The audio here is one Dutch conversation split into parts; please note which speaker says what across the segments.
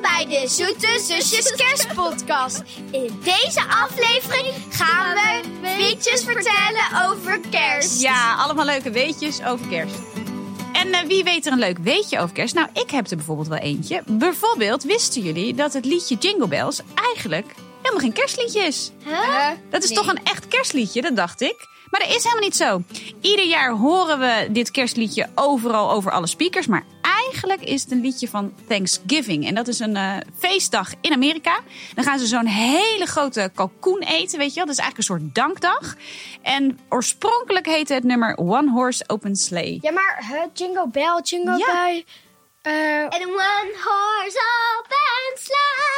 Speaker 1: bij de Zoete Zusjes Kerstpodcast. In deze aflevering gaan we weetjes vertellen over kerst.
Speaker 2: Ja, allemaal leuke weetjes over kerst. En eh, wie weet er een leuk weetje over kerst? Nou, ik heb er bijvoorbeeld wel eentje. Bijvoorbeeld wisten jullie dat het liedje Jingle Bells eigenlijk helemaal geen kerstliedje is. Dat is toch een echt kerstliedje, dat dacht ik. Maar dat is helemaal niet zo. Ieder jaar horen we dit kerstliedje overal over alle speakers. Maar eigenlijk is het een liedje van Thanksgiving. En dat is een eh, feestdag in Amerika. Dan gaan ze zo'n hele grote kalkoen eten, weet je wel. Dat is eigenlijk een soort dankdag. En oorspronkelijk heette het nummer One Horse Open Sleigh.
Speaker 3: Ja, maar hè, Jingle Bell, Jingle
Speaker 2: Ja.
Speaker 3: Bell. eh,
Speaker 1: En een one horse open sleigh.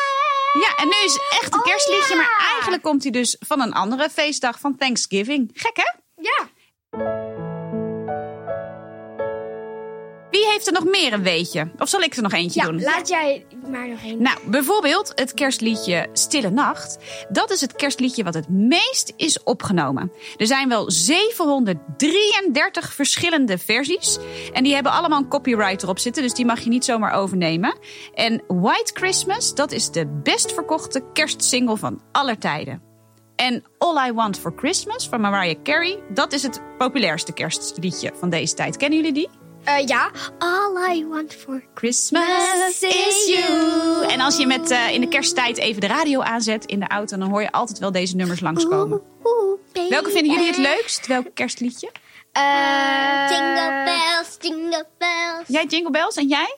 Speaker 2: Ja, en nu is het echt een
Speaker 1: Oh,
Speaker 2: kerstliedje,
Speaker 1: ja.
Speaker 2: maar eigenlijk komt hij dus van een andere feestdag van Thanksgiving. Gek hè?
Speaker 1: Ja.
Speaker 2: Wie heeft er nog meer een weetje? Of zal ik er nog eentje
Speaker 3: ja,
Speaker 2: doen?
Speaker 3: laat jij maar nog één.
Speaker 2: Nou, bijvoorbeeld het kerstliedje Stille Nacht. Dat is het kerstliedje wat het meest is opgenomen. Er zijn wel 733 verschillende versies. En die hebben allemaal een copyright erop zitten, dus die mag je niet zomaar overnemen. En White Christmas, dat is de best verkochte kerstsingle van aller tijden. En All I Want for Christmas van Mariah Carey, dat is het populairste kerstliedje van deze tijd. Kennen jullie die?
Speaker 3: Eh, ja,
Speaker 1: All I want for
Speaker 2: Christmas is you. En als je met, eh, in de kersttijd even de radio aanzet in de auto, dan hoor je altijd wel deze nummers langskomen. Welke vinden jullie het leukst? Welk kerstliedje?
Speaker 3: eh,
Speaker 1: Jingle bells, jingle bells.
Speaker 2: Jij Jingle Bells en jij?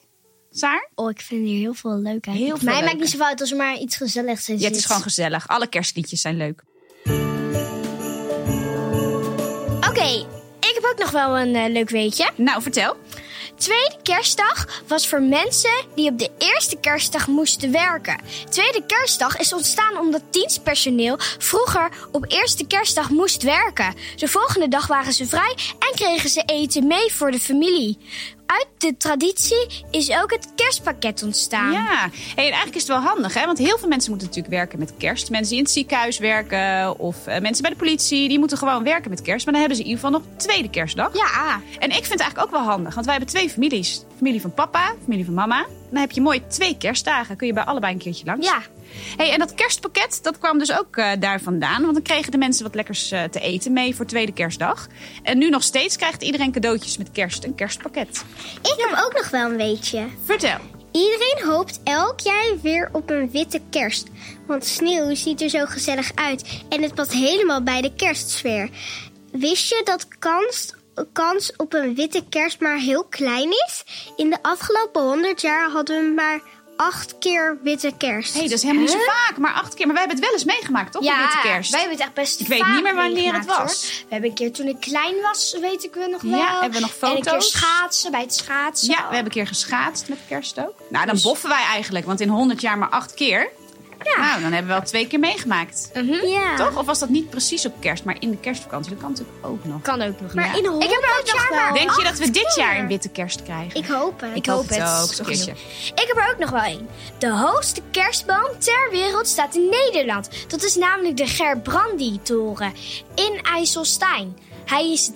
Speaker 2: Saar?
Speaker 1: Oh, ik vind hier heel veel leuk uit.
Speaker 2: Heel veel
Speaker 3: Mij
Speaker 2: leuke.
Speaker 3: maakt niet zoveel uit als er maar iets gezelligs in
Speaker 2: Ja, het is
Speaker 3: zit.
Speaker 2: gewoon gezellig. Alle kerstliedjes zijn leuk.
Speaker 3: Oké, ik heb ook nog wel een eh, leuk weetje.
Speaker 2: Nou, vertel.
Speaker 3: Tweede kerstdag was voor mensen die op de eerste kerstdag moesten werken. Tweede kerstdag is ontstaan omdat dienstpersoneel vroeger op eerste kerstdag moest werken. De volgende dag waren ze vrij en kregen ze eten mee voor de familie. Uit de traditie is ook het kerstpakket ontstaan.
Speaker 2: Ja, hey, en eigenlijk is het wel handig, hè? want heel veel mensen moeten natuurlijk werken met kerst. Mensen die in het ziekenhuis werken of eh, mensen bij de politie, die moeten gewoon werken met kerst. Maar dan hebben ze in ieder geval nog tweede kerstdag.
Speaker 3: Ja.
Speaker 2: En ik vind het eigenlijk ook wel handig, want wij hebben twee families. Familie van papa, familie van mama. Dan heb je mooi twee kerstdagen, kun je bij allebei een keertje langs.
Speaker 3: Ja.
Speaker 2: Hey, en dat kerstpakket, dat kwam dus ook eh, daar vandaan. Want dan kregen de mensen wat lekkers eh, te eten mee voor tweede kerstdag. En nu nog steeds krijgt iedereen cadeautjes met kerst, een kerstpakket.
Speaker 1: Ik heb ook nog wel een weetje.
Speaker 2: Vertel.
Speaker 1: Iedereen hoopt elk jaar weer op een witte kerst. Want sneeuw ziet er zo gezellig uit en het past helemaal bij de kerstsfeer. Wist je dat kans, kans op een witte kerst maar heel klein is? In de afgelopen 100 jaar hadden we maar acht keer witte kerst.
Speaker 2: hey, dat is helemaal niet zo vaak, maar acht keer. Maar wij hebben het wel eens meegemaakt, toch? de witte kerst.
Speaker 3: wij hebben het echt best
Speaker 2: Ik weet
Speaker 3: vaak
Speaker 2: niet meer wanneer het
Speaker 3: meegemaakt,
Speaker 2: was.
Speaker 3: hoor. We hebben een keer toen ik klein was, weet ik nog wel.
Speaker 2: Ja, hebben we nog
Speaker 3: En een keer
Speaker 2: foto's?
Speaker 3: schaatsen, bij het Dus- schaatsen.
Speaker 2: Ja, we hebben een keer geschaatst met kerst ook. Nou, dan boffen wij eigenlijk, want in 100 jaar maar acht keer. Nou, dan hebben we wel twee keer meegemaakt.
Speaker 3: Mhm.
Speaker 1: Ja.
Speaker 2: Toch? Of was dat niet precies op kerst, maar in de kerstvakantie? Dat kan natuurlijk ook nog.
Speaker 3: Kan ook nog.
Speaker 1: Maar
Speaker 2: Ja.
Speaker 1: in 100
Speaker 3: Ik heb er ook nog
Speaker 1: jaar
Speaker 3: wel.
Speaker 1: maar
Speaker 2: Denk je dat we dit
Speaker 1: keer.
Speaker 2: jaar een witte kerst krijgen?
Speaker 1: Oh, Ik hoop het.
Speaker 3: Ik hoop het.
Speaker 2: ook. Zo'n keertje.
Speaker 3: Ik heb er ook nog wel één. De hoogste kerstboom ter wereld staat in Nederland. Dat is namelijk de Gerbrandi-toren in IJsselstein. Hij is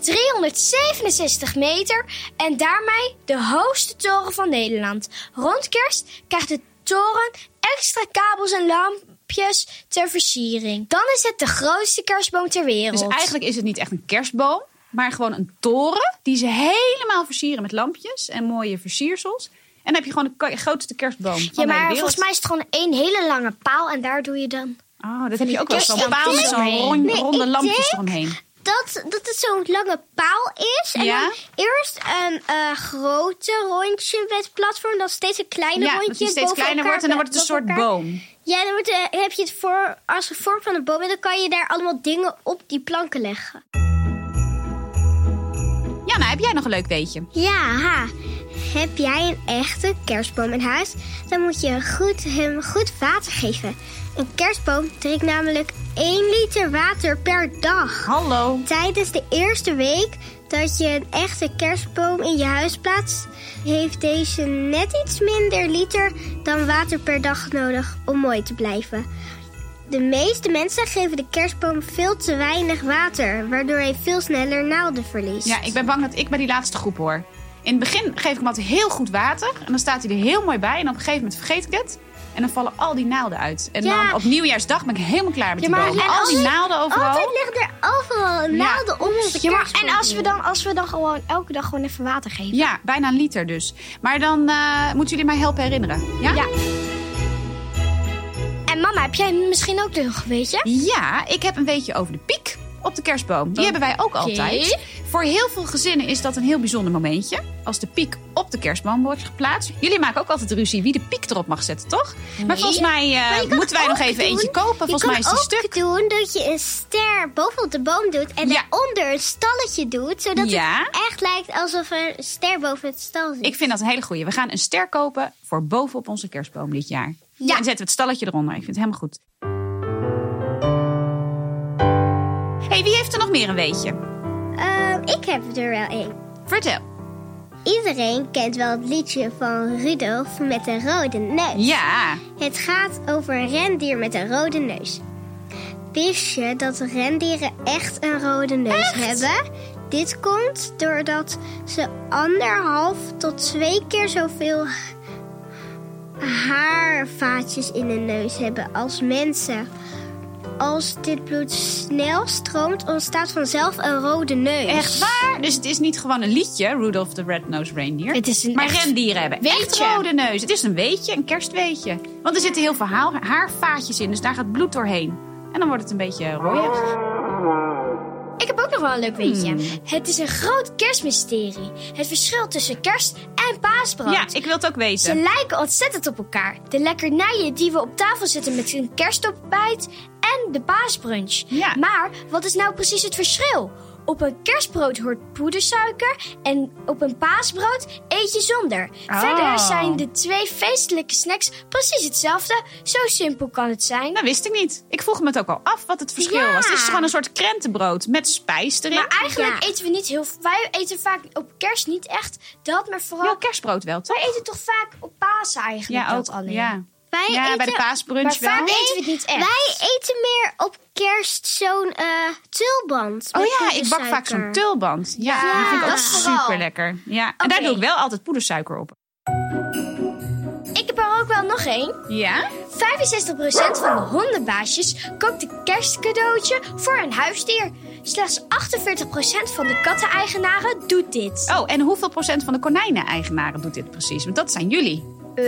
Speaker 3: 367 meter en daarmee de hoogste toren van Nederland. Rond kerst krijgt de toren extra kabels en lampjes ter versiering. Dan is het de grootste kerstboom ter wereld.
Speaker 2: Dus eigenlijk is het niet echt een kerstboom, maar gewoon een toren die ze helemaal versieren met lampjes en mooie versiersels. En dan heb je gewoon de ko- grootste kerstboom
Speaker 3: Ja,
Speaker 2: van de hele
Speaker 3: maar
Speaker 2: wereld.
Speaker 3: volgens mij is het gewoon één hele lange paal en daar doe je dan...
Speaker 2: Oh, dat heb je ook wel zo'n
Speaker 3: kerstboom
Speaker 2: paal met zo'n
Speaker 3: eromheen.
Speaker 2: rond-
Speaker 1: Nee,
Speaker 2: ronde
Speaker 1: ik
Speaker 2: lampjes
Speaker 1: denk-
Speaker 2: eromheen.
Speaker 1: dat, dat het zo'n lange paal is. En
Speaker 2: Ja.
Speaker 1: dan eerst een eh, grote rondje met platform, dan steeds een kleine
Speaker 2: Ja, dat
Speaker 1: rondje.
Speaker 2: die steeds
Speaker 1: boven
Speaker 2: kleiner
Speaker 1: elkaar,
Speaker 2: wordt en dan wordt het een
Speaker 1: boven
Speaker 2: soort
Speaker 1: elkaar.
Speaker 2: boom.
Speaker 1: Ja, dan wordt, eh, heb je het voor, als een vorm van een boom. En dan kan je daar allemaal dingen op die planken leggen.
Speaker 2: Jana, nou heb jij nog een leuk weetje?
Speaker 1: Ja, ha. Heb jij een echte kerstboom in huis? Dan moet je goed, hem goed water geven. Een kerstboom drinkt namelijk 1 liter water per dag.
Speaker 2: Hallo.
Speaker 1: Tijdens de eerste week dat je een echte kerstboom in je huis plaatst, heeft deze net iets minder liter dan water per dag nodig om mooi te blijven. De meeste mensen geven de kerstboom veel te weinig water, waardoor hij veel sneller naalden verliest.
Speaker 2: Ja, ik ben bang dat ik bij die laatste groep hoor. In het begin geef ik hem altijd heel goed water. En dan staat hij er heel mooi bij. En op een gegeven moment vergeet ik het. En dan vallen al die naalden uit. En
Speaker 1: Ja.
Speaker 2: dan op nieuwjaarsdag ben ik helemaal klaar met die
Speaker 1: Ja, maar-
Speaker 2: bomen.
Speaker 1: en
Speaker 2: Al
Speaker 1: als
Speaker 2: die
Speaker 1: je-
Speaker 2: naalden overal.
Speaker 1: Altijd liggen er overal naalden om onze
Speaker 3: Ja, maar,
Speaker 1: kerstboom
Speaker 3: en als we,
Speaker 1: heen.
Speaker 3: dan, als we dan gewoon elke dag gewoon even water geven.
Speaker 2: Ja, bijna een liter dus. Maar dan eh, moeten jullie mij helpen herinneren. Ja?
Speaker 3: Ja. En mama, heb jij misschien ook nog, weet je?
Speaker 2: Ja, ik heb een weetje over de piek op de kerstboom. Die hebben wij ook altijd. Voor heel veel gezinnen is dat een heel bijzonder momentje. Als de piek op de kerstboom wordt geplaatst. Jullie maken ook altijd ruzie wie de piek erop mag zetten, toch? Maar volgens mij eh,
Speaker 1: Maar je kan
Speaker 2: moeten wij nog
Speaker 1: ook
Speaker 2: even
Speaker 1: doen-
Speaker 2: eentje kopen. Volgens mij is die
Speaker 1: Je
Speaker 2: stuk.
Speaker 1: kan ook doen dat je een ster bovenop de boom doet en
Speaker 2: Ja.
Speaker 1: daaronder een stalletje doet. Zodat
Speaker 2: Ja.
Speaker 1: het echt lijkt alsof er een ster boven het stal zit.
Speaker 2: Ik vind dat een hele goeie. We gaan een ster kopen voor bovenop onze kerstboom dit jaar. En dan zetten we het stalletje eronder. Ik vind het helemaal goed. hey, wie heeft er nog meer een weetje?
Speaker 1: Ehm, ik heb er wel één.
Speaker 2: Vertel.
Speaker 1: Iedereen kent wel het liedje van Rudolf met een rode neus.
Speaker 2: Ja.
Speaker 1: Het gaat over een rendier met een rode neus. Wist je dat rendieren echt een rode neus hebben? Dit komt doordat ze anderhalf tot twee keer zoveel haarvaatjes in hun neus hebben als mensen. Als dit bloed snel stroomt, ontstaat vanzelf een rode neus.
Speaker 2: Echt waar? Dus het is niet gewoon een liedje, Rudolph the Red-Nosed Reindeer.
Speaker 3: Het is een
Speaker 2: maar
Speaker 3: echt
Speaker 2: rendieren hebben echt
Speaker 3: weetje.
Speaker 2: rode neus. Het is een weetje, een kerstweetje. Want er zitten heel veel haal- haarvaatjes in, dus daar gaat bloed doorheen. En dan wordt het een beetje
Speaker 3: Oh.
Speaker 2: rooier.
Speaker 3: Ik heb ook nog wel een leuk weetje. Het is een groot kerstmysterie. Het verschil tussen kerst en paasbrood.
Speaker 2: Ja, ik wil het ook
Speaker 3: Ze
Speaker 2: weten.
Speaker 3: lijken ontzettend op elkaar. De lekkernijen die we op tafel zetten met een kerstopbijt en de paasbrunch.
Speaker 2: Ja.
Speaker 3: Maar wat is nou precies het verschil? Op een kerstbrood hoort poedersuiker en op een paasbrood eet je zonder.
Speaker 2: Oh.
Speaker 3: Verder zijn de twee feestelijke snacks precies hetzelfde. Zo simpel kan het zijn.
Speaker 2: Dat wist ik niet. Ik vroeg me het ook al af wat het verschil
Speaker 1: Ja.
Speaker 2: was. Het is gewoon een soort krentenbrood met spijs erin.
Speaker 3: Maar eigenlijk
Speaker 1: Ja.
Speaker 3: eten we niet heel Wij eten vaak op kerst niet echt dat, maar vooral.
Speaker 2: Wel kerstbrood wel, toch?
Speaker 3: Wij eten toch vaak op Pasen eigenlijk
Speaker 2: Ja,
Speaker 3: dat
Speaker 2: ook.
Speaker 3: alleen.
Speaker 2: Ja,
Speaker 1: Wij
Speaker 2: ja bij de
Speaker 1: eten-
Speaker 2: paasbrunch wel.
Speaker 3: maar vaak- eten we het niet echt.
Speaker 1: Wij eten meer op kerst zo'n eh tulband.
Speaker 2: Oh
Speaker 1: met
Speaker 2: ja, ik bak vaak zo'n
Speaker 1: poedersuiker.
Speaker 2: tulband. Ja,
Speaker 3: Ja,
Speaker 2: die vind ik ook
Speaker 3: dat vooral.
Speaker 2: super lekker. Ja. En daar
Speaker 3: Oké.
Speaker 2: doe ik wel altijd poedersuiker op.
Speaker 3: Ik heb er ook wel nog één.
Speaker 2: Ja?
Speaker 3: 65% van de hondenbaasjes koopt een kerstcadeautje voor een huisdier. Slechts 48% van de katteneigenaren doet dit.
Speaker 2: Oh, en hoeveel procent van de konijnen-eigenaren doet dit precies? Want dat zijn jullie.
Speaker 3: Eh,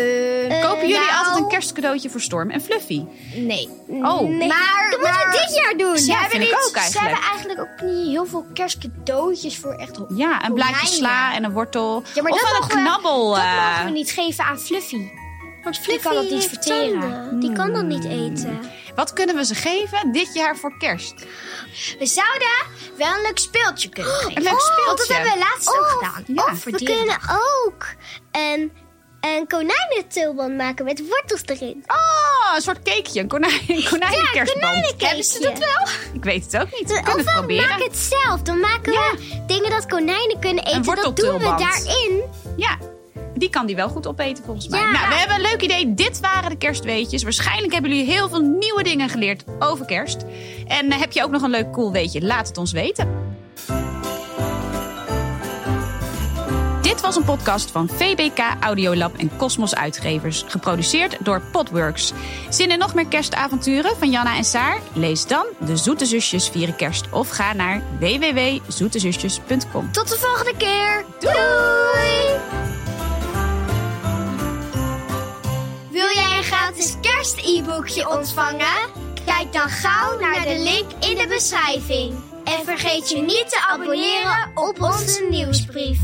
Speaker 2: Kopen jullie
Speaker 1: nou-
Speaker 2: altijd een kerstcadeautje voor Storm en Fluffy?
Speaker 3: nee.
Speaker 2: Oh,
Speaker 1: Nee,
Speaker 3: Maar-
Speaker 1: dat moeten
Speaker 3: maar-
Speaker 1: we dit jaar doen.
Speaker 3: Ze,
Speaker 2: Ja,
Speaker 3: hebben
Speaker 2: vind ik
Speaker 3: niet-
Speaker 2: ook
Speaker 3: ze
Speaker 2: eigenlijk.
Speaker 3: hebben eigenlijk ook niet heel veel kerstcadeautjes voor echt honden.
Speaker 2: ja, een blaadje
Speaker 3: Konijnen.
Speaker 2: sla en een wortel.
Speaker 3: Ja, maar
Speaker 2: of
Speaker 3: dat
Speaker 2: wel een
Speaker 3: mogen we-
Speaker 2: knabbel.
Speaker 3: Dat
Speaker 2: eh.
Speaker 3: mogen we niet geven aan Fluffy. Want Fluffy kan dat
Speaker 1: Fluffy
Speaker 3: niet
Speaker 1: heeft
Speaker 3: verteren.
Speaker 1: tanden. Die kan dat niet eten.
Speaker 2: Wat kunnen we ze geven dit jaar voor kerst?
Speaker 3: We zouden wel een leuk speeltje kunnen geven.
Speaker 2: Oh, Een leuk speeltje.
Speaker 1: Oh,
Speaker 2: Oh,
Speaker 3: Want dat hebben we laatst ook gedaan.
Speaker 2: ja,
Speaker 3: Of
Speaker 1: of
Speaker 3: voor
Speaker 1: Oh, we
Speaker 3: dieren.
Speaker 1: kunnen ook een, een konijnentulband maken met wortels erin.
Speaker 2: Oh, een soort cakeje. Een konijn, konijnenkerstboom.
Speaker 1: konijnencakeje.
Speaker 2: Hebben ze dat wel? Ik weet het ook niet. We
Speaker 1: Of
Speaker 2: kunnen het
Speaker 1: we
Speaker 2: proberen.
Speaker 1: maken het zelf. Dan maken we dingen dat konijnen kunnen eten. Dat doen we
Speaker 2: worteltulband.
Speaker 1: daarin.
Speaker 2: Ja, die kan die wel goed opeten volgens mij.
Speaker 1: Ja.
Speaker 2: Nou, we hebben een leuk idee. Dit waren de kerstweetjes. Waarschijnlijk hebben jullie heel veel nieuwe dingen geleerd over kerst. En eh, heb je ook nog een leuk cool weetje? Laat het ons weten. Dit was een podcast van VBK Audiolab en Cosmos Uitgevers, geproduceerd door Podworks. Zin in nog meer kerstavonturen van Janna en Saar? Lees dan De Zoete Zusjes vieren kerst of ga naar www.zoetezusjes.com.
Speaker 3: Tot de volgende keer.
Speaker 1: Doei!
Speaker 3: Wil jij een gratis kerst-e-boekje ontvangen? Kijk dan gauw naar de link in de beschrijving. En vergeet je niet te abonneren op onze nieuwsbrief.